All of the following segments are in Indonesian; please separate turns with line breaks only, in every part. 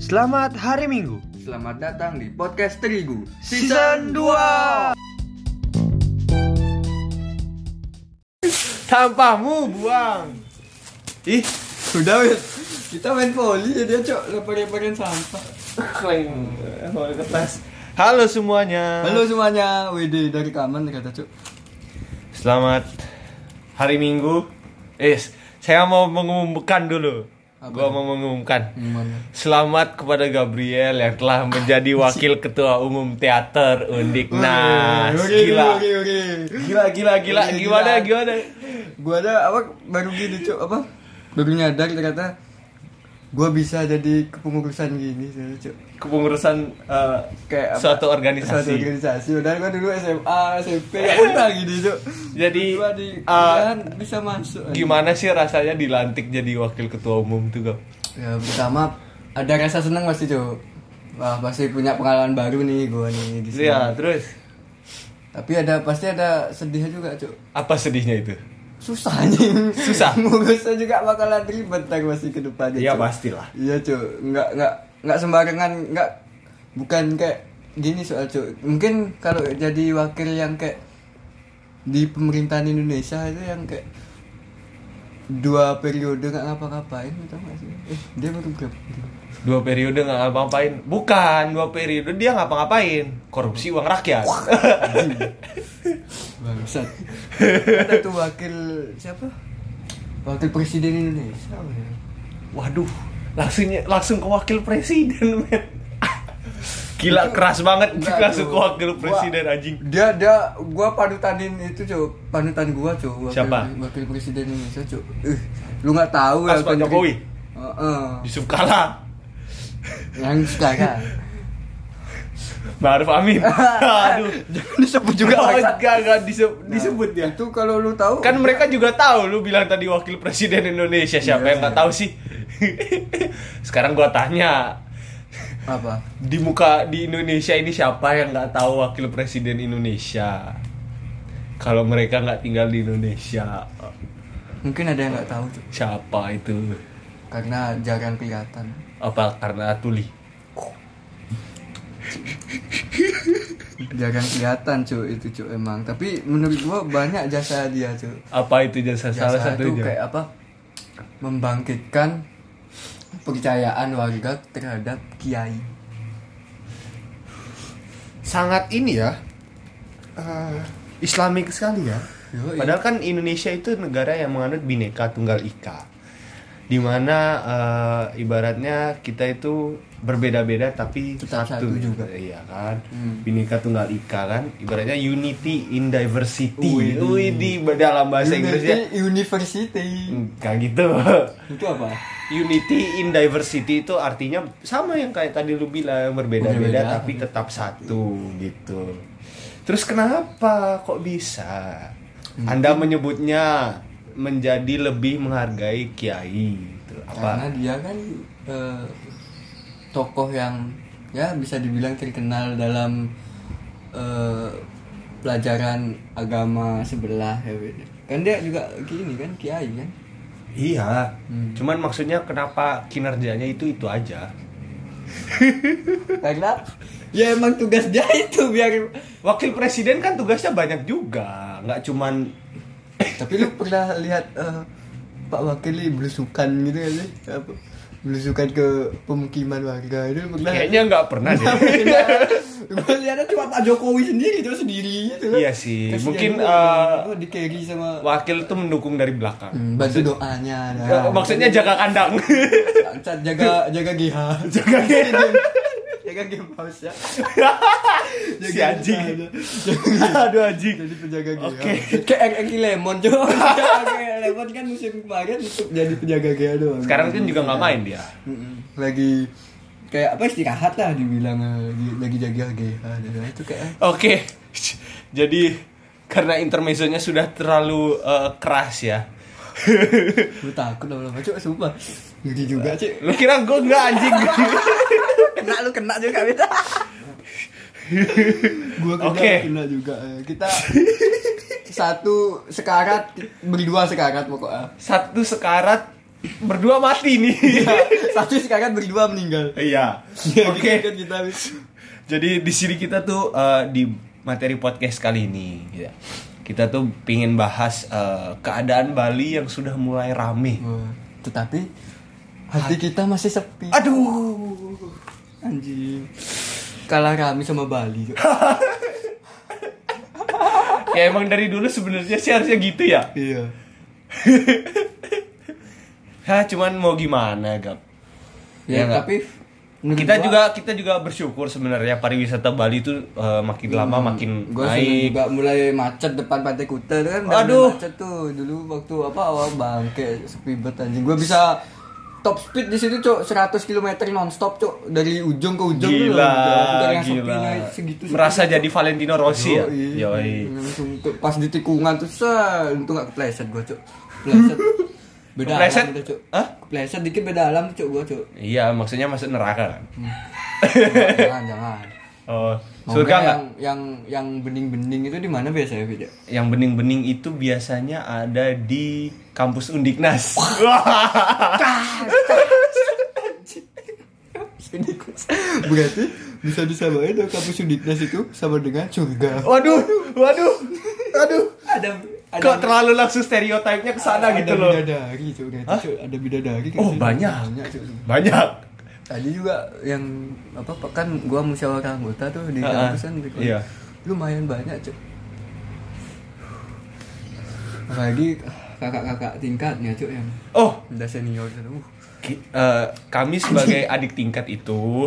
Selamat hari Minggu
Selamat datang di podcast Terigu
Season 2 Sampahmu buang
Ih, sudah wes. Kita main volley jadi ya, Cok, lempar-lemparin sampah.
Kleng Mau kertas Halo semuanya
Halo semuanya, WD dari Kamen kata Cok.
Selamat hari Minggu Eh, saya mau mengumumkan dulu
Apa?
Gua mau mengumumkan
Gimana?
Selamat kepada Gabriel yang telah menjadi wakil ketua umum teater Undiknas. Gila.
Uri, uri.
Gila gila gila
Gila,
gimana
gila.
gimana?
Gua ada apa baru gini, Cok, apa? Baru nyadar ternyata gua bisa jadi kepengurusan gini, ternyata, Cok.
Kepengurusan eh,
Kayak apa?
suatu
Satu
organisasi.
organisasi. Udah gua dulu SMA, SMP, ya udah gini, Cok.
Jadi
Gua di
eh,
kan bisa masuk.
gimana sih rasanya dilantik jadi wakil ketua umum tuh, Gab?
Ya, pertama ada rasa senang pasti cuy. Wah pasti punya pengalaman baru nih gua nih di sini.
Iya, terus
Tapi ada pasti ada sedihnya juga cuy.
apa sedihnya itu?
Susah anjing.
Susah.
Ngurusnya juga bakalan ribet ntar pasti ke depannya.
Iya,
cuy.
pastilah.
Iya cuy. Nggak nggak nggak sembarangan nggak bukan kayak gini soal cuy. Mungkin kalau jadi wakil yang kayak di pemerintahan Indonesia itu yang kayak dua periode nggak ngapa-ngapain tau gak sih? Eh, dia baru berapa?
Dua periode nggak ngapa-ngapain. Bukan, dua periode dia ngapa-ngapain. Korupsi uang rakyat.
Bangsat. Ada tuh wakil siapa? Wakil presiden Indonesia. men.
Waduh, langsungnya langsung ke wakil presiden, men. Gila keras banget
Enggak,
langsung ke
cuy.
wakil
Gua-
presiden anjing.
Dia dia gua panutanin itu, Cuk. Panutan gua, Cuk. Wakil,
Siapa?
Wakil presiden Indonesia, Cuk. Eh, lu nggak tahu
Pas Pak
kan-
Jokowi?
Heeh.
Yusuf Kala,
Yang sekarang.
Ma'ruf Amin. Aduh.
Jangan disebut juga
Enggak,
bangsat.
enggak, enggak disebut, disebut
Nah,
ya.
Itu kalau lu tahu
Kan mereka juga tahu lu bilang tadi wakil presiden Indonesia siapa
Iya,
yang nggak
iya.
tahu sih? Sekarang gua tanya
apa?
di muka di Indonesia ini siapa yang nggak tahu wakil presiden Indonesia? Kalau mereka nggak tinggal di Indonesia,
Mungkin ada yang nggak tahu, Cuk.
siapa itu?
Karena jarang kelihatan.
Apa karena tuli?
Jarang kelihatan, Cuk, itu, Cuk, emang. Tapi menurut gua banyak jasa dia, Cuk.
Apa itu jasa, salah
Jasa Ya, itu
satunya?
kayak apa membangkitkan percayaan warga terhadap kiai
Sangat ini ya. eh, Islamik sekali ya.
Yoi.
Padahal kan Indonesia itu negara yang menganut bineka tunggal ika, dimana eh, ibaratnya kita itu berbeda-beda tapi
Tetap
satu.
satu juga.
Iya kan,
Hmm.
bineka tunggal ika kan, ibaratnya unity in diversity.
Wih.
Wih, di dalam bahasa Inggrisnya
University, university
enggak gitu.
itu apa
Unity in diversity itu artinya sama yang kayak tadi lu bilang berbeda-beda
Berbeda.
tapi tetap satu gitu. Terus kenapa kok bisa? Anda menyebutnya menjadi lebih menghargai kiai gitu.
karena
Apa?
dia kan eh, tokoh yang ya bisa dibilang terkenal dalam eh, pelajaran agama sebelah ya Wid. kan dia juga gini kan kiai kan
Iya.
Hmm.
Cuman maksudnya kenapa kinerjanya itu itu aja?
karena ya emang tugas dia itu biar
Wakil presiden kan tugasnya banyak juga, nggak cuman
Tapi lu pernah lihat eh, Pak Wakil ini belusukan gitu kan sih? Apa? Belusukan ke pemukiman warga itu pernah.
kayaknya nggak pernah deh.
Gue lihatnya kan cuma Pak Jokowi sendiri itu sendiri gitu kan.
Iya sih,
Kasihan
mungkin,
juga,
eh,
gua di carry sama
Wakil tuh mendukung dari belakang.
Hmm, bantu doanya nah.
Eh, Maksudnya jaga kandang.
Bangsat, jaga jaga GH.
Jaga GH.
jaga game house ya.
si anjing. Aduh anjing.
Jadi penjaga GH.
Oke.
Kayak Eki Lemon juga. Kayak Lemon kan musim kemarin untuk jadi penjaga GH doang.
Sekarang kan juga nggak main dia.
Mm-mm. lagi kayak apa istirahat lah dibilang eh, lagi, lagi jaga GH dan itu kayak eh,
Oke. Jadi karena intermezzonya sudah terlalu eh, keras ya.
gue takut lama-lama cuk sumpah ngeri juga cik
Lu kira gue nggak anjing?
kena lu kena juga beda gua kena
Oke.
lu kena juga Eh, kita satu sekarat berdua sekarat pokoknya
Satu sekarat berdua mati nih.
Tapi sekarang berdua meninggal.
Iya.
Ya,
Oke.
gitu kan kita habis.
Jadi di sini kita tuh eh, di materi podcast kali ini, gitu ya. kita tuh pingin bahas eh, keadaan Bali yang sudah mulai rame.
Wah, Tetapi hati kita masih sepi.
Aduh,
Anjing. Kalah rame sama Bali. Cok.
ya emang dari dulu sebenarnya sih harusnya gitu ya.
iya.
Hah, cuman mau gimana, Gap? Iya
Ya,
nggak?
tapi menurut
kita
gua-
juga kita juga bersyukur sebenarnya pariwisata Bali tuh eh, makin lama makin
Gue
naik.
Hmm, juga mulai macet depan Pantai Kuta tuh kan udah mulai
Aduh.
macet tuh dulu waktu apa awal bangke sepi banget anjing. Gue bisa top speed di situ cok 100 km nonstop cok dari ujung ke ujung tuh
Gila,
loh, udah. Udah yang
gila.
sepinya segitu
Merasa jadi Valentino Rossi ya.
Yoi.
Yoi.
Langsung tuh, pas di tikungan tuh set untung gak kepleset gue cok. Kepleset. beda
Kepleset?
alam udah cok.
Hah?
Kepleset dikit beda alam cok gue cok.
Iya, maksudnya masuk neraka kan.
jangan jangan.
Oh,
Hmm. Mau
surga
nggak
nggak?
yang yang yang bening-bening itu di mana biasanya Fit, ya?
Yang bening-bening itu biasanya ada di kampus Undiknas.
Unicorns. Berarti bisa disamain dong kampus Unitnas itu sama dengan surga.
waduh, waduh, aduh.
Ada
Kok terlalu langsung stereotipnya ke sana gitu loh.
Bidadari cuy, ternyata, cuy. ada bidadari kan,
Oh,
cuy.
banyak.
cuy.
Banyak.
Tadi juga yang apa kan gua musyawarah anggota tuh di
Ah, ah.
kampus kan di kampus.
Iya.
Lumayan banyak, cuy. Apalagi kakak-kakak tingkatnya cuy yang
Oh,
udah senior gitu. Uh.
Ki- eh, kami sebagai adik tingkat itu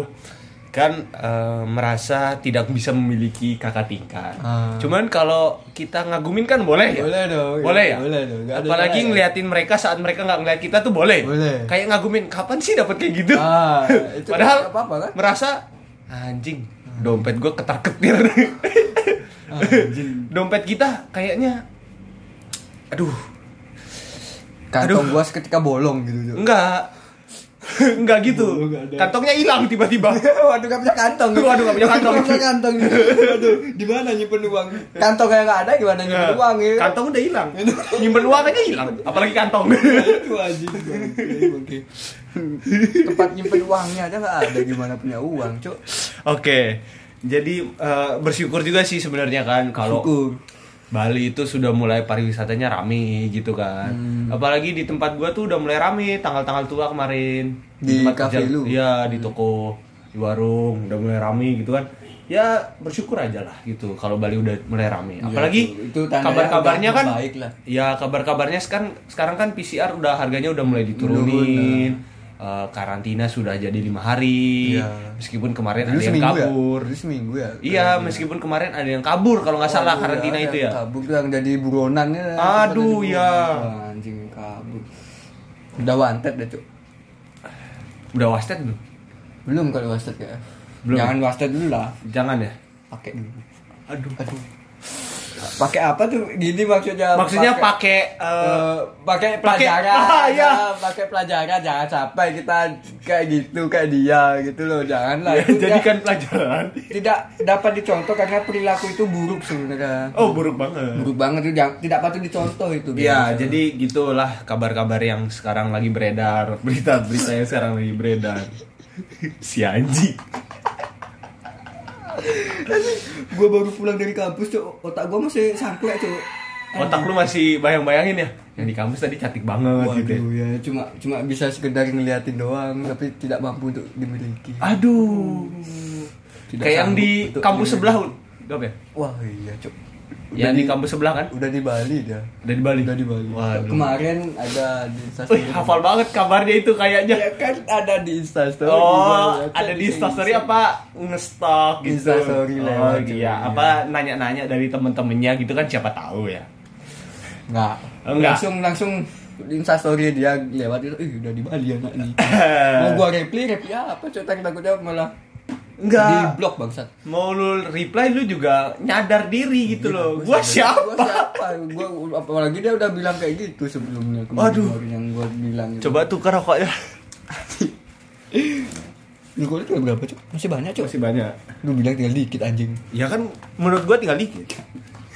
kan eh, merasa tidak bisa memiliki kakak tingkat.
Ah.
Cuman kalau kita ngagumin kan boleh ya?
Boleh dong,
Boleh ya?
boleh dong, nggak ada
Apalagi
salahnya.
ngeliatin mereka saat mereka nggak ngeliat kita tuh boleh.
Boleh.
Kayak ngagumin kapan sih dapat kayak gitu?
Ah, itu
Padahal
nggak apa-apa kan? Ah.
merasa anjing dompet gue ketar ketir.
Anjing.
dompet kita kayaknya aduh
Kantong gua seketika bolong gitu, cuy.
enggak enggak gitu
Oh, nggak ada.
kantongnya hilang tiba-tiba
Waduh gak punya kantong
Waduh, nggak punya kantong.
Nggak punya kantong Waduh di mana nyimpen uang Kantong kayak gak ada gimana nyimpen uang ya
Kantong udah hilang. Nyimpen uang aja hilang, apalagi kantong.
Itu aja Oke Tempat nyimpen uangnya aja gak ada gimana punya uang cok
Oke. Jadi eh, bersyukur juga sih sebenarnya kan kalau
Syukur.
Bali itu sudah mulai pariwisatanya rame gitu kan.
Hmm.
Apalagi di tempat gua tuh udah mulai rame tanggal-tanggal tua kemarin.
Di
tempat
cafe
kerja-
lu? Hmm.
Iya, di toko, di warung udah mulai rame gitu kan. Ya bersyukur aja lah gitu kalau Bali udah mulai rame. Apalagi
Iya, itu- itu tandanya
kabar-kabarnya
udah
kan
baik lah.
Ya kabar-kabarnya sekarang sekarang kan PCR udah harganya udah mulai diturunin. Eh, karantina sudah jadi lima hari.
Iya.
Meskipun kemarin
Dulu
ada yang
seminggu ya
kabur.
Dulu seminggu ya
Iya, meskipun kemarin ada yang kabur kalau nggak salah
Waduh,
karantina
ada
itu
yang
ya.
Kabur tuh yang jadi buronan ya
Aduh,
Sempat jadi
ya.
buronan. Wah, Anjing kabur Udah wanted deh cok
Udah wasted belum?
Belum kalau wasted kayak
Belum.
Jangan wasted dulu lah
Jangan ya.
Pakai dulu
Aduh.
Aduh. Pakai apa tuh? Gini maksudnya.
Maksudnya pakai eh,
eh, pakai
pakai-
pelajaran.
Ah, iya.
ya, pakai pelajaran jangan sampai kita kayak gitu kayak dia gitu loh. Janganlah.
ya,
Itu dia
jadikan pelajaran.
tidak dapat dicontoh karena perilaku itu buruk sebenarnya.
Oh, buruk banget.
Buruk banget itu jangan- tidak patut dicontoh itu.
Iya,
Biasa.
jadi gitulah kabar-kabar yang sekarang lagi beredar, berita-berita yang sekarang lagi beredar. Si anjing.
Gua baru pulang dari kampus tuh otak gua masih sangklek tuh.
Otak lu masih bayang-bayangin ya? Yang di kampus tadi cantik banget gitu. ya.
Waduh ya, cuma cuma bisa sekedar ngeliatin doang tapi tidak mampu untuk dimiliki.
Aduh.
Tidak
Kayak yang
sanggup
di
untuk
kampus
diri.
sebelah, Gap ya?
Wah iya cok.
Iya. Yang di kampus sebelah kan?
udah di Bali dia.
Udah di Bali.
Udah di Bali.
Waduh.
Kemarin ada di
Wih,
instastory.
hafal banget kabarnya itu kayaknya.
Ya kan ada di instastory. ya, kan?
Oh, ada di instastory apa ngestok
Di
gitu.
instastory
oh,
lewat, cuy,
iya. Apa nanya-nanya dari temen-temennya gitu kan siapa tahu ya.
Enggak.
Oh, enggak.
Langsung langsung di instastory dia lewat itu, ih udah di Bali anak ini. Mau gua reply, reply ya, apa cerita takutnya malah di
Enggak.
blok bangsat.
Mau lu reply lu juga nyadar diri gitu loh. Gua
Iya, Gua
siapa?
siapa? Gua apalagi dia udah bilang kayak gitu sebelumnya.
Aduh.
kemarin yang gua bilang. itu.
Coba tukar rokoknya.
Lu gua tinggal berapa, Cuk? Masih banyak, Cuk.
Masih banyak.
Lu bilang tinggal dikit anjing.
Ya kan menurut gua tinggal dikit.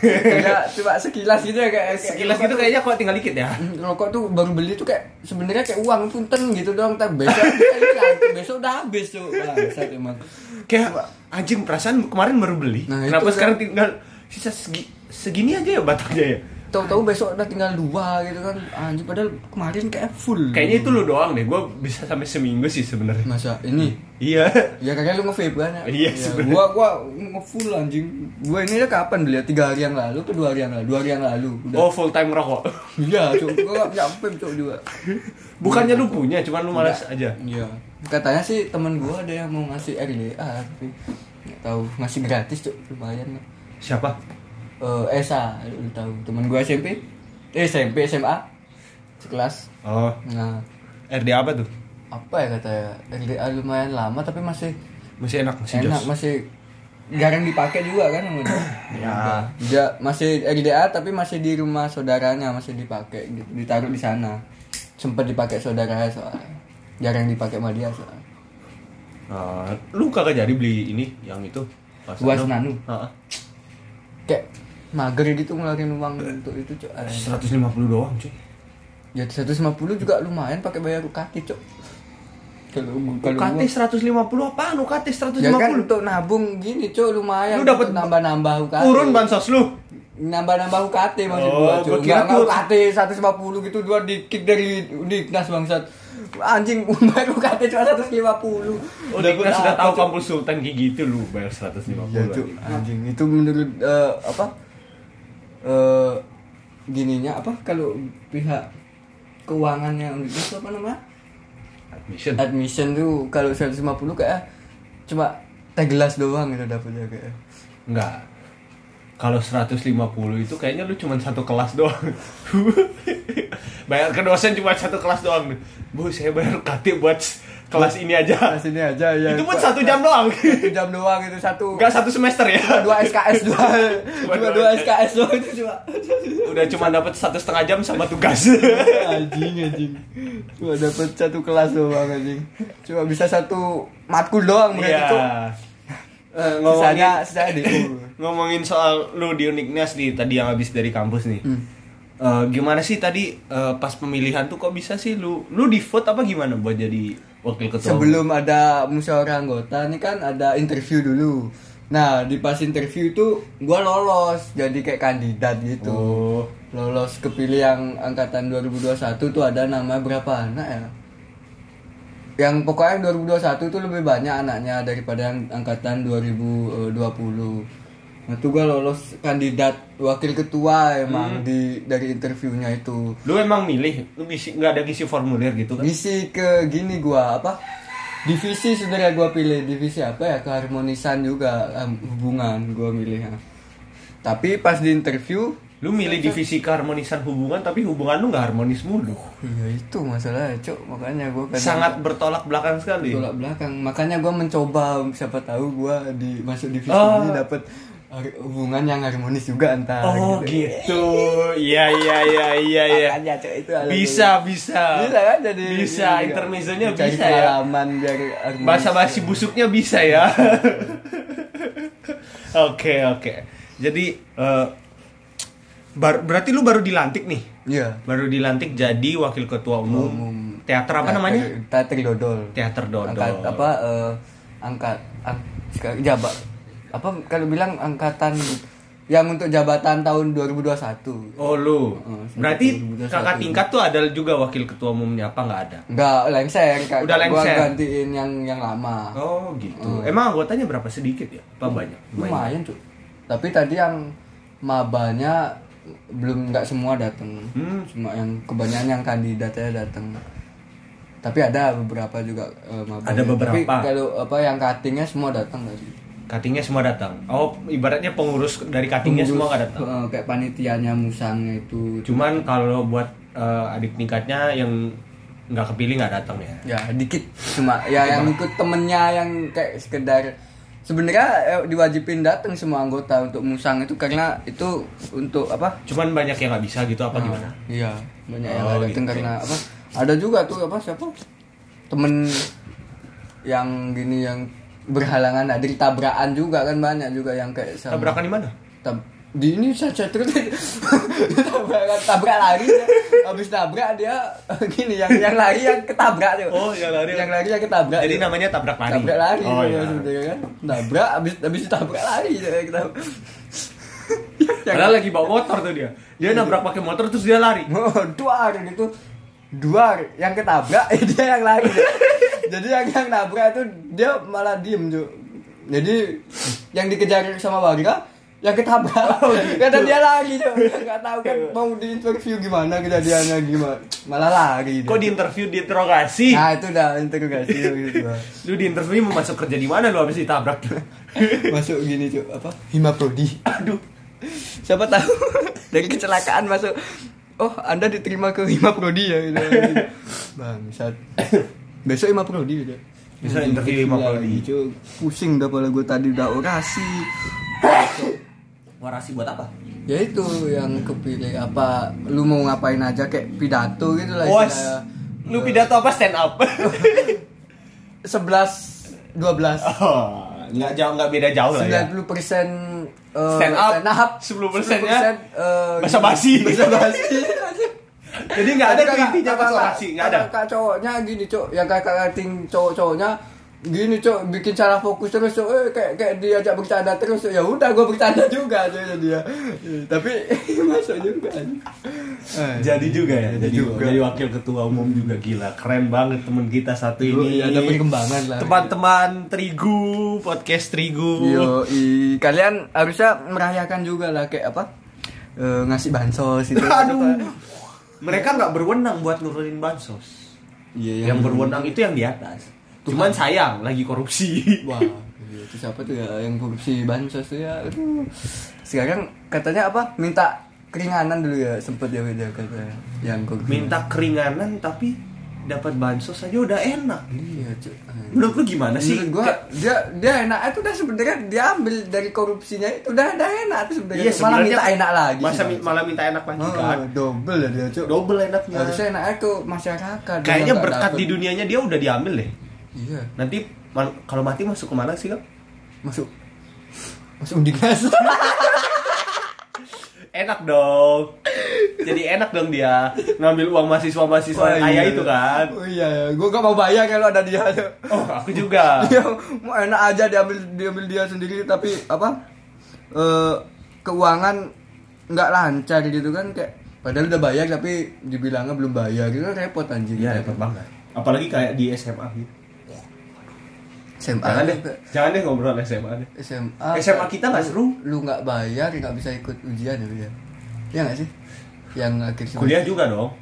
kayak cuma sekilas gitu ya kayak kayak
Sekilas
rokok
gitu
tuh-
kayaknya kok tinggal dikit ya.
Mm, rokok tuh baru beli tuh kayak sebenarnya kayak uang punten gitu doang tapi besok kita hilang. besok udah habis tuh bangsat emang
Kayak anjing perasaan kemarin baru beli.
Nah,
Kenapa
itu kan.
sekarang tinggal sisa segi- segini aja ya batangnya ya?
tahu-tahu besok udah tinggal dua gitu kan anjir padahal kemarin kayak full
Kayaknya itu lu doang deh. Gue bisa sampai seminggu sih sebenarnya.
masa ini
Iya.
Ya kakak lu nge-vape kan ya?
Iya,
Ya,
sebenernya.
Gua gua nge-full anjing. Gua ini udah kapan beli? ya? Tiga hari yang lalu ke dua hari yang lalu? Dua hari yang lalu. Udah.
Oh full time rokok.
Iya, cuk. Gua enggak vape cuk juga.
Bukannya lu punya, cuman lu malas
Enggak.
aja.
Iya. Katanya sih temen gua ada yang mau ngasih RDA tapi enggak tahu ngasih gratis cuk. Lumayan. ya.
Siapa?
Eh, Esa, lu tahu temen gua SMP? Eh, SMP, SMA. Sekelas.
Oh,
Nah,
RD apa tuh?
apa ya katanya? RDA lumayan lama tapi masih
Masih enak masih
enak
jos.
masih jarang dipakai juga kan sama dia.
Ya.
Dia masih RDA tapi masih di rumah saudaranya masih dipakai gitu, ditaruh di sana. Sempat dipakai saudaranya soalnya. Jarang dipakai sama dia soalnya.
Nah, lu kagak jadi beli ini yang itu.
Buas Nanu.
Heeh.
Kayak mager gitu ngeluarin uang untuk itu, Cok. Eh,
150 doang, cuy.
Ya 150 juga lumayan pakai bayar UKT, Cok. Kalau kalau
UKT
gua-
150 apaan? UKT 150.
Ya kan untuk nabung gini, Cok, lumayan.
Lu dapet-
Untuk nambah-nambah UKT.
Turun bansos lu.
Oh, nambah-nambah UKT maksud
Oh,
gua
gua
cuy.
kira
Enggak enggak
tuh-
UKT 150 gitu dua dikit dari Diknas bangsat. Anjing bayar UKT cuma 150.
Oh, Udah
gua
kita sudah
apa,
tahu
cuy?
kampus Sultan kayak gitu lu bayar 150.
Iya, cuy.
anjing.
Anjing itu menurut eh, apa? Eh gininya apa kalau pihak keuangannya Undiknas apa namanya?
Admission.
Admission tuh kalau 150 kayak cuma teh gelas doang gitu dapatnya kayak.
Enggak. Kalau 150 itu kayaknya lu cuma satu kelas doang. bayar ke dosen cuma satu kelas doang. Bu, saya bayar UKT buat kelas ini aja.
Nah, sini aja ya.
Ah. Itu pun satu jam doang.
Satu jam doang itu satu.
Enggak satu semester ya.
dua SKS dua
Cuma dua
dua dua SKS loh itu cuma
Udah cuma dapat satu setengah jam sama tugas.
anjing anjing cuma dapat satu kelas doang anjing cuma bisa satu matkul doang
Iya.
berarti
Eh,
tuh
ngomongin
sisanya sisanya di
ngomongin soal lu di Uniknas nih tadi yang habis dari kampus nih.
Hmm.
Eh, gimana sih tadi eh, pas pemilihan tuh kok bisa sih lu lu di vote apa gimana buat jadi wakil ketua?
sebelum ada musyawarah anggota ini kan ada interview dulu nah di pas interview itu gua lolos jadi kayak kandidat gitu
Oh.
lolos kepilih yang angkatan 2021 tuh ada nama berapa anak ya yang pokoknya yang 2021 tuh lebih banyak anaknya daripada yang angkatan 2020 nah itu gua lolos kandidat wakil ketua emang di dari interviewnya itu
Lu emang milih, lu ngisi nggak ada ngisi formulir gitu kan?
Misi ke gini gua apa? Divisi sebenarnya gua pilih divisi apa ya? Keharmonisan juga em, hubungan gua milihnya. Tapi pas di interview,
Lu milih divisi keharmonisan hubungan tapi hubungan lu nggak harmonis mulu.
ya itu masalahnya, Cuk. Makanya gua kadang
Sangat bertolak belakang sekali.
tolak belakang. Makanya gua mencoba siapa tahu gua di masuk divisi
Oh.
ini dapat har- hubungan yang harmonis juga antara
Oh gitu, iya iya iya iya iya.
Makanya, Cuk, itu alasannya.
Bisa bisa.
Bisa kan jadi
bisa
ini juga.
intermezzonya
Cari
bisa ya.
pengalaman biar harmonis.
Bahasa basi busuknya bisa ya. Oke oke. Jadi eh, bar- berarti lu baru dilantik nih.
Iya.
Baru dilantik jadi wakil ketua umum,
Umum.
teater apa namanya?
Teater Dodol.
Teater Dodol.
Angkat apa eh, angkat ang, sekarang jabat apa kalau bilang angkatan yang untuk jabatan tahun 2021.
Oh lu.
Heeh, sempat
Berarti
2021.
kakak tingkat tuh ada juga wakil ketua umumnya apa nggak ada?
Enggak lengser Kak.
Udah lengser.
Gua gantiin yang yang lama.
Oh gitu. Emang anggotanya berapa sedikit ya? Apa banyak?
Lumayan, Cuk. Tapi tadi yang mabanya belum nggak semua datang.
Hmm.
Cuma yang kebanyakan yang kandidatnya datang. Tapi ada beberapa juga eh, maba.
Ada
Tapi
beberapa.
kalau apa yang cuttingnya semua datang tadi.
Katingnya semua datang. Oh ibaratnya pengurus dari katingnya semua nggak datang.
Eh, kayak panitianya musangnya itu.
Cuman kalau buat eh, adik tingkatnya yang nggak kepilih nggak datang ya.
Ya, dikit cuma ya yang ikut temennya yang kayak sekedar sebenarnya eh, diwajibin datang semua anggota untuk musang itu karena itu untuk apa?
Cuman banyak yang nggak bisa gitu apa gimana?
Iya, banyak yang
Oh,
ada
gitu.
karena apa? Ada juga tuh apa siapa? Temen yang gini yang berhalangan hadir tabrakan juga kan banyak juga yang kayak sama
Tabrakan di mana?
Tab- di ini saja terus tabrak tabrak lari dia. habis tabrak dia gini yang yang lari yang ketabrak tuh
Oh, yang lari-
yang lari yang ketabrak
Jadi
tuh.
namanya tabrak lari.
tabrak lari
Oh iya.
sebenarnya kan tabrak habis habis tabrak lari dia yang ketabrak. Yang-
Padahal lagi bawa motor tuh dia. Dia nabrak pakai motor terus dia lari.
Oh, duar gitu duar yang ketabrak eh, dia yang lari jadi yang yang nabrak itu dia malah diem tuh jadi yang dikejar sama warga yang ketabrak
Oh, gitu.
kata dia lari tuh nggak tahu kan mau diinterview gimana kejadiannya gimana malah lari dia.
Kok di interview di interogasi?
nah itu udah interogasi tuh, gitu
Lu di interview mau masuk kerja di mana lu habis ditabrak?
masuk gini tuh apa hima prodi
Aduh.
siapa tahu dari kecelakaan masuk oh anda diterima ke Hima Prodi ya gitu. bangsat besok Hima Prodi udah
Besok interview Hima Prodi.
Cu. pusing udah pala gue tadi udah orasi
Warasi buat apa?
ya itu yang kepilih apa lu mau ngapain aja kayak pidato gitu lah
Was. Lu pidato apa stand up?
sebelas dua belas
Oh, nggak jauh nggak beda jauh lah ya.
sembilan puluh persen eh,
Stand up, 10% -nya basa-basi.
basa basi
Jadi nggak ada
Tapi kakak-
intinya pas
kakak-
orasi, nggak ada.
kakak cowoknya gini, Cok. Yang kakak kating cowok-cowoknya gini, Cok, bikin salah fokus terus, Cok. Eh, kayak kayak diajak bercanda terus. Cok. Ya udah, gua bercanda juga, Cok, jadi dia. Tapi masuk juga. Eh,
Jadi juga ya,
Jadi
jadi,
juga.
jadi wakil ketua umum juga gila, keren banget teman kita satu
Yo,
ini.
iya, ada perkembangan lah.
Teman-teman Terigu, podcast Terigu.
Yo, i, kalian harusnya merayakan juga lah kayak apa? Eh, ngasih bansos itu.
Aduh. Mereka nggak berwenang buat nurunin bansos.
Iya,
Yang berwenang itu yang di atas. Cuman sayang lagi korupsi.
Wah, iya, itu siapa tuh ya yang korupsi bansos tuh ya? Aduh. Sekarang katanya apa? Minta keringanan dulu ya sempet ya beda katanya yang korupsi.
Minta keringanan tapi dapat bansos aja udah enak.
Iya, cuy. Aduh.
Menurut lu gimana sih?
Menurut gua
Kayak-
dia dia enak itu udah sebenarnya dia ambil dari korupsinya itu udah udah enak tuh sebenarnya.
Iya,
malah
sebenarnya-
minta enak gitu. lagi.
Masa
sih,
mi-
Bang.
malah minta enak lagi
Oh,
kan?
double ya dia, cuy.
Double enaknya.
Harusnya enaknya tuh masyarakat. dia
Kayaknya
nggak
berkat
dapet.
di dunianya dia udah diambil deh.
Iya,
Nanti mal- kalau mati masuk kemana sih Kang?
masuk masuk dinas.
Enak dong. Jadi enak dong dia ngambil uang mahasiswa-mahasiswa yang kaya itu kan.
Oh iya, gua gak mau bayar kalau ada dia tuh.
Oh, aku juga.
Iya, mau enak aja diambil diambil dia sendiri tapi apa eh, keuangan nggak lancar gitu kan kayak padahal udah bayar tapi dibilangnya belum bayar itu kan repot anjir
Iya, repot banget. Apalagi kayak di SMA gitu.
SMA
Jangan deh, Ah, Eh,
juga-
jangan deh ngobrol SMA deh.
SMA
SMA kita nggak seru.
lu nggak bayar nggak bisa ikut ujian ya ya ya nggak sih yang akhir semester.
Kuliah juga dong.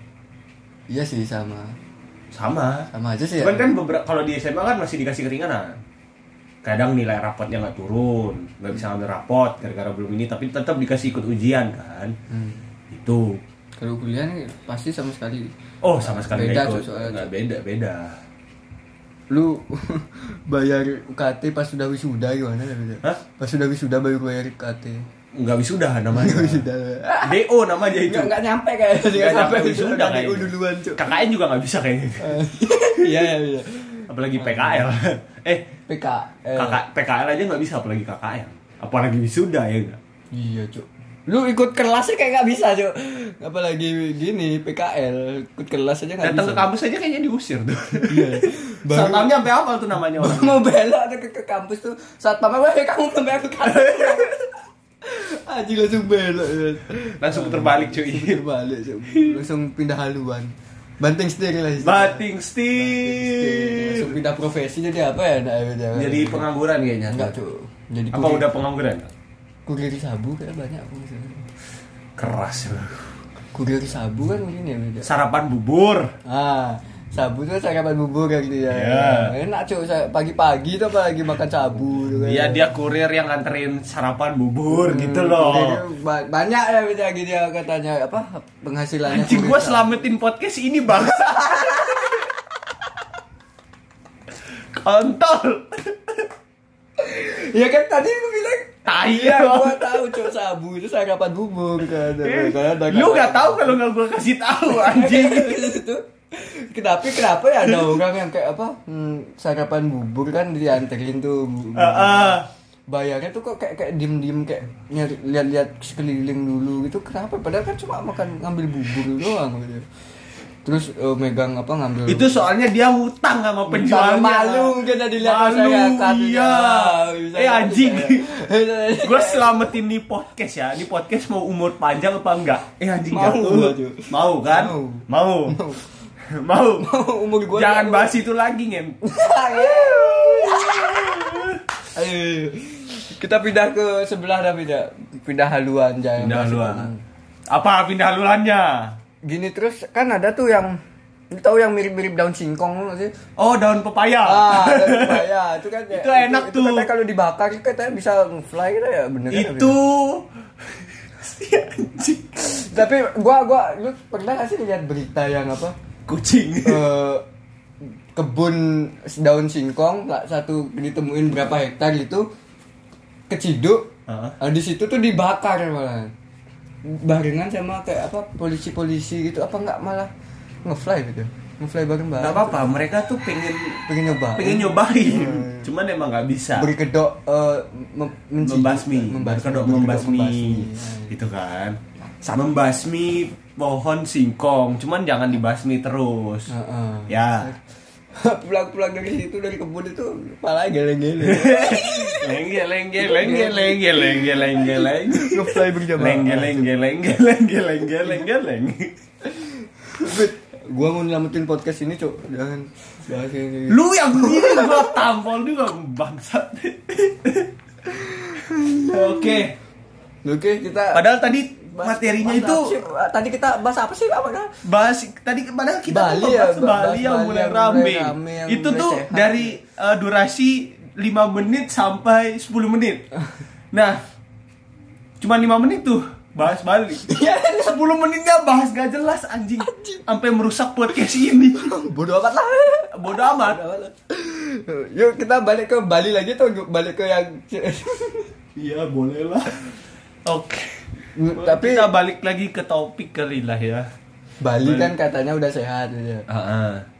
iya sih sama
Sama.
sama aja sih ya
Cuman kan beberapa kalau di SMA kan masih dikasih keringanan. Kadang nilai rapotnya nggak turun, nggak bisa ambil rapot gara-gara belum ini, tapi tetap dikasih ikut ujian kan.
Hmm.
Itu.
kalau kuliah nih pasti sama sekali
Oh sama sekali
Beda,
nggak
cuy, soalnya,
Nggak
cuy.
beda beda.
lu bayar UKT pas sudah wisuda gimana ya Beda?
Hah?
Pas sudah wisuda baru bayar UKT.
Nggak wisuda namanya.
Wisuda.
Do namanya itu.
Enggak enggak nyampe kayaknya
Nggak
enggak iya, nyampe
sampai
wisuda
wisuda
DU
kayaknya.
duluan, Cuk.
KKN juga nggak bisa kayaknya.
ya. Iya iya iya.
Apalagi PKL. eh
PK.
KK, PKL aja nggak bisa apalagi KKN. Apalagi wisuda ya nggak.
Iya, Cuk. Lu ikut kelasnya kayak nggak bisa, Cuk. Apalagi gini PKL, ikut kelas aja nggak bisa.
Datang ke kampus aja kayaknya diusir tuh.
Iya. Baru-
Satpamnya sampai apa tuh namanya orang?
mau belok ke, ke kampus tuh saat pamit wah kamu belum bayar UKT. Aji langsung belok. ya.
Langsung terbalik cuy.
Terbalik Cuk. Langsung pindah haluan Banting setir lah
Bating
Langsung
Steve.
pindah profesi jadi apa ya nak?
Jadi pengangguran kayaknya.
Enggak Cuk Jadi
Apa
kurir,
udah pengangguran?
kurir sabu kayak banyak aku misalnya
Keras. ya.
Kurir sabu kan mungkin ya beda
Sarapan bubur.
Ah Sabu tuh sarapan bubur kan gitu ya
Iya.
Enak Cuk Sa- Pagi-pagi tuh apalagi makan sabu tuh kan.
Iya dia kurir yang nganterin sarapan bubur gitu loh.
Kurir ba- Banyak ya beda gitu ya katanya Apa penghasilannya
Anjing
kurir
gua
sabu.
selamatin podcast ini bangsa. Kontol.
Ya kan tadi lu bilang
Tai
Iya,
lo.
gua tahu cok sabu itu sarapan bubur kan. Karena ada-
Iya. Lu gak tahu kalau gak gua kasih tahu anjing.
Itu. Gitu, Kenapa kenapa ya ada orang yang kayak apa hmm, sarapan bubur kan dianterin tuh bu-
Heeh.
bayarnya tuh kok kayak kayak diem diem kayak nyari lihat-lihat sekeliling dulu gitu kenapa padahal kan cuma makan ngambil bubur doang gitu terus eh, megang apa ngambil
Itu soalnya dia hutang sama penjualnya.
malu mungkin tadi lihat
Malu, iya.
Ah,
Eh, anjing. Gue selamatin di podcast ya. Di podcast mau umur panjang apa enggak? Eh anjing
Mau
jatuh.
gua, cuy.
Mau kan?
Mau.
Mau. Mau.
umur gue
Jangan bahas itu lagi, Ngem.
Ayo, kita pindah ke sebelah dah pindah pindah haluan jangan
Pindah
masuk.
haluan. Apa pindah haluannya?
gini terus kan ada tuh yang lu tahu yang mirip-mirip daun singkong lu nggak sih
Oh, daun pepaya.
ah daun pepaya itu kan ya-
Itu enak
itu,
tuh.
katanya kalau dibakar itu katanya bisa fly gitu ya bener kan?
itu Si anjing.
tapi gua gua lu pernah gak sih lihat berita yang apa
kucing.
Eh, kebun daun singkong nggak satu ditemuin berapa hektar gitu keciduk
Heeh.
Nah, di situ tuh dibakar malah barengan sama kayak apa polisi-polisi gitu apa nggak malah ngefly gitu ngefly bareng bareng
Gak apa-apa, mereka tuh pengen
pengen nyoba
pengen nyobain.
Hmm.
Cuman emang nggak bisa.
berkedok eh, mem- menciduk,
membasmi, berkedok membasmi,
Nah,
gitu kan. Sama membasmi pohon singkong, cuman jangan dibasmi terus.
Heeh.
Ya,
pulang-pulang dari situ dari kebun itu malah geleng-geleng
lengge lengge lengge lengge lengge lengge lengge
ngefly berjamaah
lengge lengge lengge lengge lengge lengge lengge.
Bet, gua mau nyelamatin podcast ini, Cok. Jangan bahas yang kayak gitu.
Lu yang ini gua tampol juga bangsat. Oke,
Oke, kita
padahal tadi materinya
bahas apa
itu
sih? Ah, tadi kita bahas apa sih? Apa dah?
bahas tadi padahal kita
Bali
tuh
ya,
bahas
bahas
Bali yang
Bali
mulai
yang
rame.
mulai rame, yang
Itu
mulai
tuh
sehat.
dari eh, durasi 5 menit sampai 10 menit. Nah, cuma 5 menit tuh bahas Bali.
Iya.
10 menitnya bahas gak jelas anjing. Sampai merusak podcast ini.
Bodoh amat lah.
Bodoh amat.
Yuk kita balik ke Bali lagi tuh, balik ke yang
Iya, boleh lah. Oke. Tapi
tapi
kita balik lagi ke topik kali lah ya.
Bali kan katanya udah sehat gitu.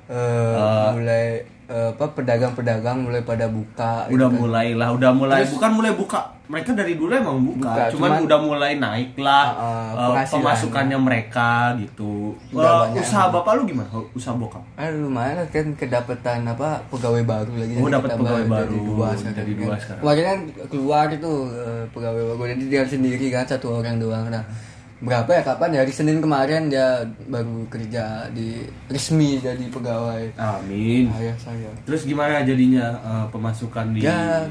Eh, mulai eh, apa pedagang-pedagang mulai pada buka gitu
udah
kan.
mulai lah udah mulai Iya bukan mulai buka mereka dari dulu emang buka, cuman,
Buka, cuman-
udah mulai naik lah
Ah, ah,
eh,
penghasilannya.
pemasukannya mereka gitu
Udah
Eh,
banyak.
usaha bapak lu gimana usaha bokap
Ah, lumayan lah kan kedapetan apa pegawai baru lagi.
Oh,
Jadi
dapat
kita
pegawai
Dari
baru,
dua sekarang.
dari
kan.
dua sekarang.
Kemarin kan keluar itu eh, pegawai baru. Jadi dia sendiri kan satu orang doang. Nah, berapa ya kapan ya? hari Senin kemarin dia baru kerja di resmi jadi pegawai.
amin
Ayah saya.
terus gimana jadinya eh, pemasukan di
Ya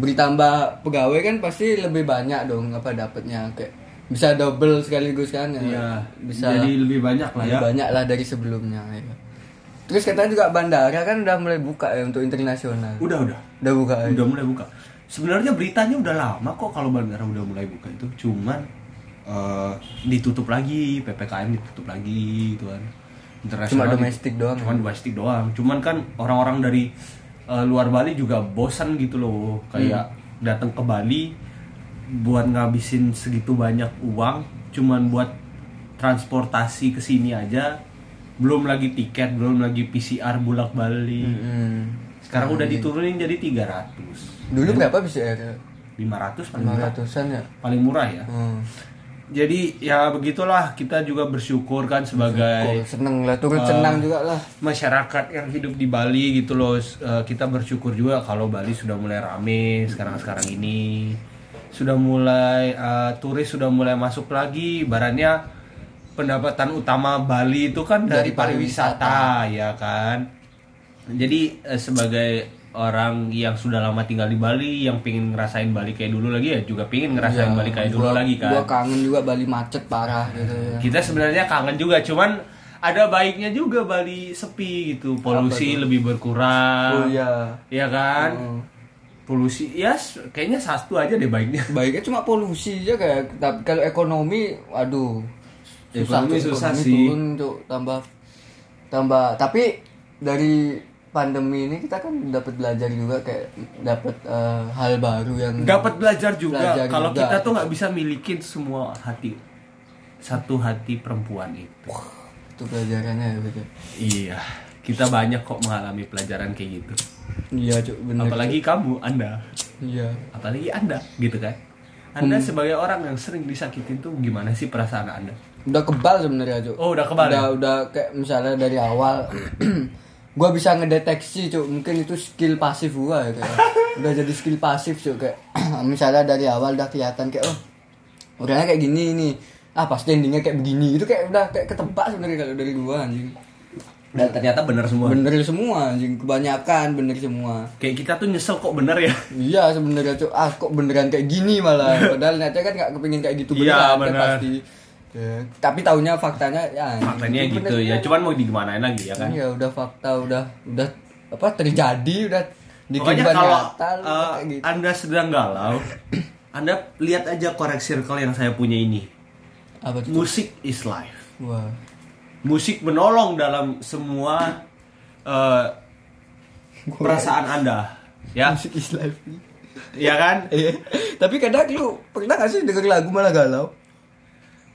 bertambah pegawai kan pasti lebih banyak dong apa dapatnya kayak bisa double sekaligus kan ya.
Iya,
bisa
jadi lebih banyak lah ya
lebih banyak lah dari sebelumnya ya. Terus katanya juga bandara kan udah mulai buka ya untuk internasional.
udah udah
Udah buka ya.
udah mulai buka sebenarnya beritanya udah lama kok kalau bandara udah mulai buka itu cuman eh, ditutup lagi ppkm ditutup lagi gitu kan internasional
Cuma
ditutup-
domestik doang ya?
cuman domestik doang cuman kan orang-orang dari eh, luar Bali juga bosan gitu loh kayak
Hmm.
datang ke Bali buat ngabisin segitu banyak uang cuman buat transportasi ke sini aja belum lagi tiket belum lagi PCR bolak balik
Mm-mm.
sekarang udah diturunin jadi 300.
Dulu berapa bisa
Iya.
ya?
500 paling murah.
500-an ya.
Paling murah ya.
Hmm.
Jadi ya begitulah kita juga bersyukur kan
Kok
sebagai
seneng lah, turut senang
Eh,
juga lah.
masyarakat yang hidup di Bali gitu loh. S- eh, kita bersyukur juga kalau Bali sudah mulai rame sekarang-sekarang ini. Sudah mulai eh, turis sudah mulai masuk lagi. Barannya pendapatan utama Bali itu kan dari,
Dari
pariwisata ya kan. Jadi eh, sebagai orang yang sudah lama tinggal di Bali, yang pengen ngerasain Bali kayak dulu lagi ya juga pengen ngerasain Bali kayak dulu
Iya. Gua-
lagi kan.
Gua kangen juga Bali macet parah gitu ya.
Kita sebenarnya kangen juga, cuman ada baiknya juga Bali sepi gitu, polusi lebih
Oh
berkurang,
iya.
ya kan?
Hmm.
Polusi, ya s- kayaknya satu aja deh baiknya.
Baiknya cuma polusi aja kayak tapi kalau ekonomi aduh susah
Ekonomi
tuh,
susah
ekonomi
sih.
turun tuh tambah tambah tapi dari pandemi ini kita kan dapat belajar juga kayak dapat eh, hal baru yang
Dapat belajar juga
Belajar
kalau
juga.
kita tuh nggak bisa milikin semua hati satu hati perempuan itu.
itu pelajarannya ya, gitu.
Iya, kita banyak kok mengalami pelajaran kayak gitu.
Iya, Cuk, bener.
Apalagi kamu, Anda.
Iya.
apalagi anda gitu kan anda
Hmm.
sebagai orang yang sering disakitin tuh gimana sih perasaan anda
Udah kebal sebenarnya Cuk.
Oh, udah kebal
Udah
ya?
udah kayak misalnya dari awal gua bisa ngedeteksi Cuk, mungkin itu skill pasif gua ya kayak. udah jadi skill pasif Cuk kayak misalnya dari awal udah kelihatan kayak oh orangnya kayak gini ini. Ah, pasti endingnya kayak begini. Itu kayak udah kayak ketebak sebenarnya kalau dari gua anjing.
dan ternyata benar semua
Bener semua anjing, kebanyakan bener semua.
kayak kita tuh nyesel kok bener ya
Iya sebenarnya cok, ah kok beneran kayak gini malah. Padahal nyatanya kan nggak kepingin kayak gitu
Iya,
beneran kan
bener.
pasti. Ya, Tapi taunya faktanya ya.
faktanya
itu
gitu
bener.
ya cuman mau digimanain lagi ya kan
Iya udah fakta udah udah apa terjadi udah di
Pokoknya
kehidupan
kalau
nyata, lu
eh,
kayak gitu.
Anda sedang galau, Anda lihat aja korek circle yang saya punya ini.
Apa tuh?
Musik is life.
Wah.
Musik menolong dalam semua eh, perasaan Anda. Ya,
Musik is life.
ya kan?
Iya. Tapi kadang lu pernah gak sih denger lagu malah galau?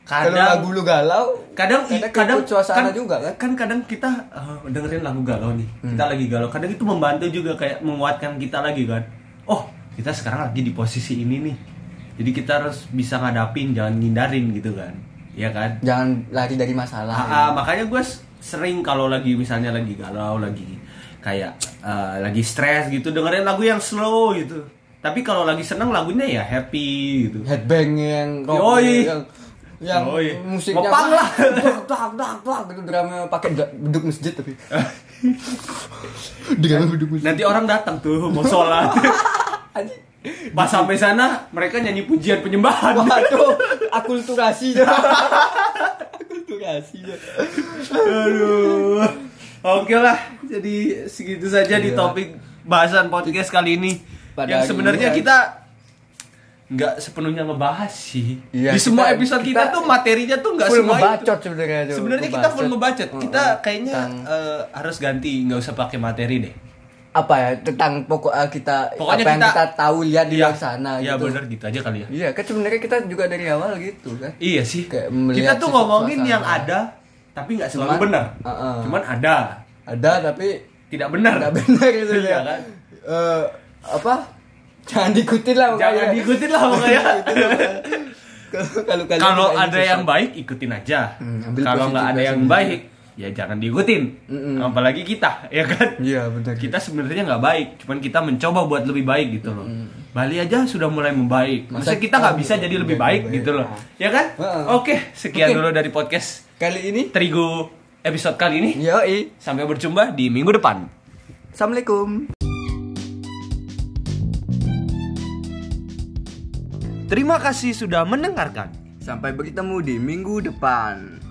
Kalau lagu
Kadang
lu galau,
kadang kadang
ikut
kan-
suasana juga kan? Hmm.
kadang kita eh, dengerin lagu galau nih. Kita lagi galau. Kadang itu membantu juga kayak menguatkan kita lagi kan. Oh, kita sekarang lagi di posisi ini nih. Jadi kita harus bisa ngadapin, jangan ngindarin gitu kan. Ya kan?
Jangan lari dari masalah.
Ah, ah,
ya.
makanya gue sering kalau lagi misalnya lagi galau lagi kayak eh, lagi stres gitu dengerin lagu yang slow gitu tapi kalau lagi seneng lagunya ya happy gitu
headbang yang rock
Yoi.
yang yang
Yoi.
musiknya
Ngepang lah.
dak dak dak dak gitu drumnya pakai da- beduk masjid tapi drumnya beduk masjid
nanti orang datang tuh mau sholat Nah.
Anjing.
pas sampai sana mereka nyanyi pujian penyembahan
waduh akulturasi akulturasi
aduh oke lah jadi segitu saja di
Iya.
topik bahasan podcast kali ini
Pada
yang
hari
sebenarnya
ini,
kita nggak sepenuhnya ngebahas sih
Iya,
di semua
kita-
episode kita,
kita
tuh materinya tuh nggak
full
semua itu
ngebacot sebenarnya Cuk.
Sebenarnya kita full ngebacot. Kita
Heeh.
kayaknya
Tentang-
eh, harus ganti nggak usah pakai materi deh.
apa ya tentang pokok eh, kita
Pokoknya
apa yang
kita-
kita tahu lihat di
Iya.
luar sana
Iya
gitu
bener gitu aja kali ya.
iya kan sebenarnya kita juga dari awal gitu kan
Iya sih.
Kayak
kita
melihat
tuh
sesuatu
ngomongin
suasana.
yang ada tapi nggak selalu
Cuman- uh-uh.
benar.
Heeh.
Cuman ada,
ada tapi
tidak benar.
nggak benar gitu
Iya
ya
kan?
Eh, apa jangan diikutin lah
Jangan
pokoknya.
diikutin lah pokoknya.
Kalau- kalau kalian
Kalau
tidak
ada
ikut,
yang baik ikutin aja.
gitu, Hmm, ambil
Kalau nggak ada
positifnya
yang
sendiri.
baik ya jangan diikutin.
Mm-mm.
Apalagi kita ya kan.
iya benar
Kita sebenarnya nggak baik, cuman kita mencoba buat lebih baik gitu loh. Bali aja sudah mulai membaik. Masa,
Masa
kita nggak
kita
bisa jadi lebih
nggak
baik,
baik? Ah.
gitu loh. Ya kan?
Heeh.
Oke, sekian
Oke.
dulu dari podcast
kali ini
Terigu episode kali ini.
yoi
Sampai berjumpa di minggu depan.
assalamualaikum
Terima kasih sudah mendengarkan.
sampai bertemu di minggu depan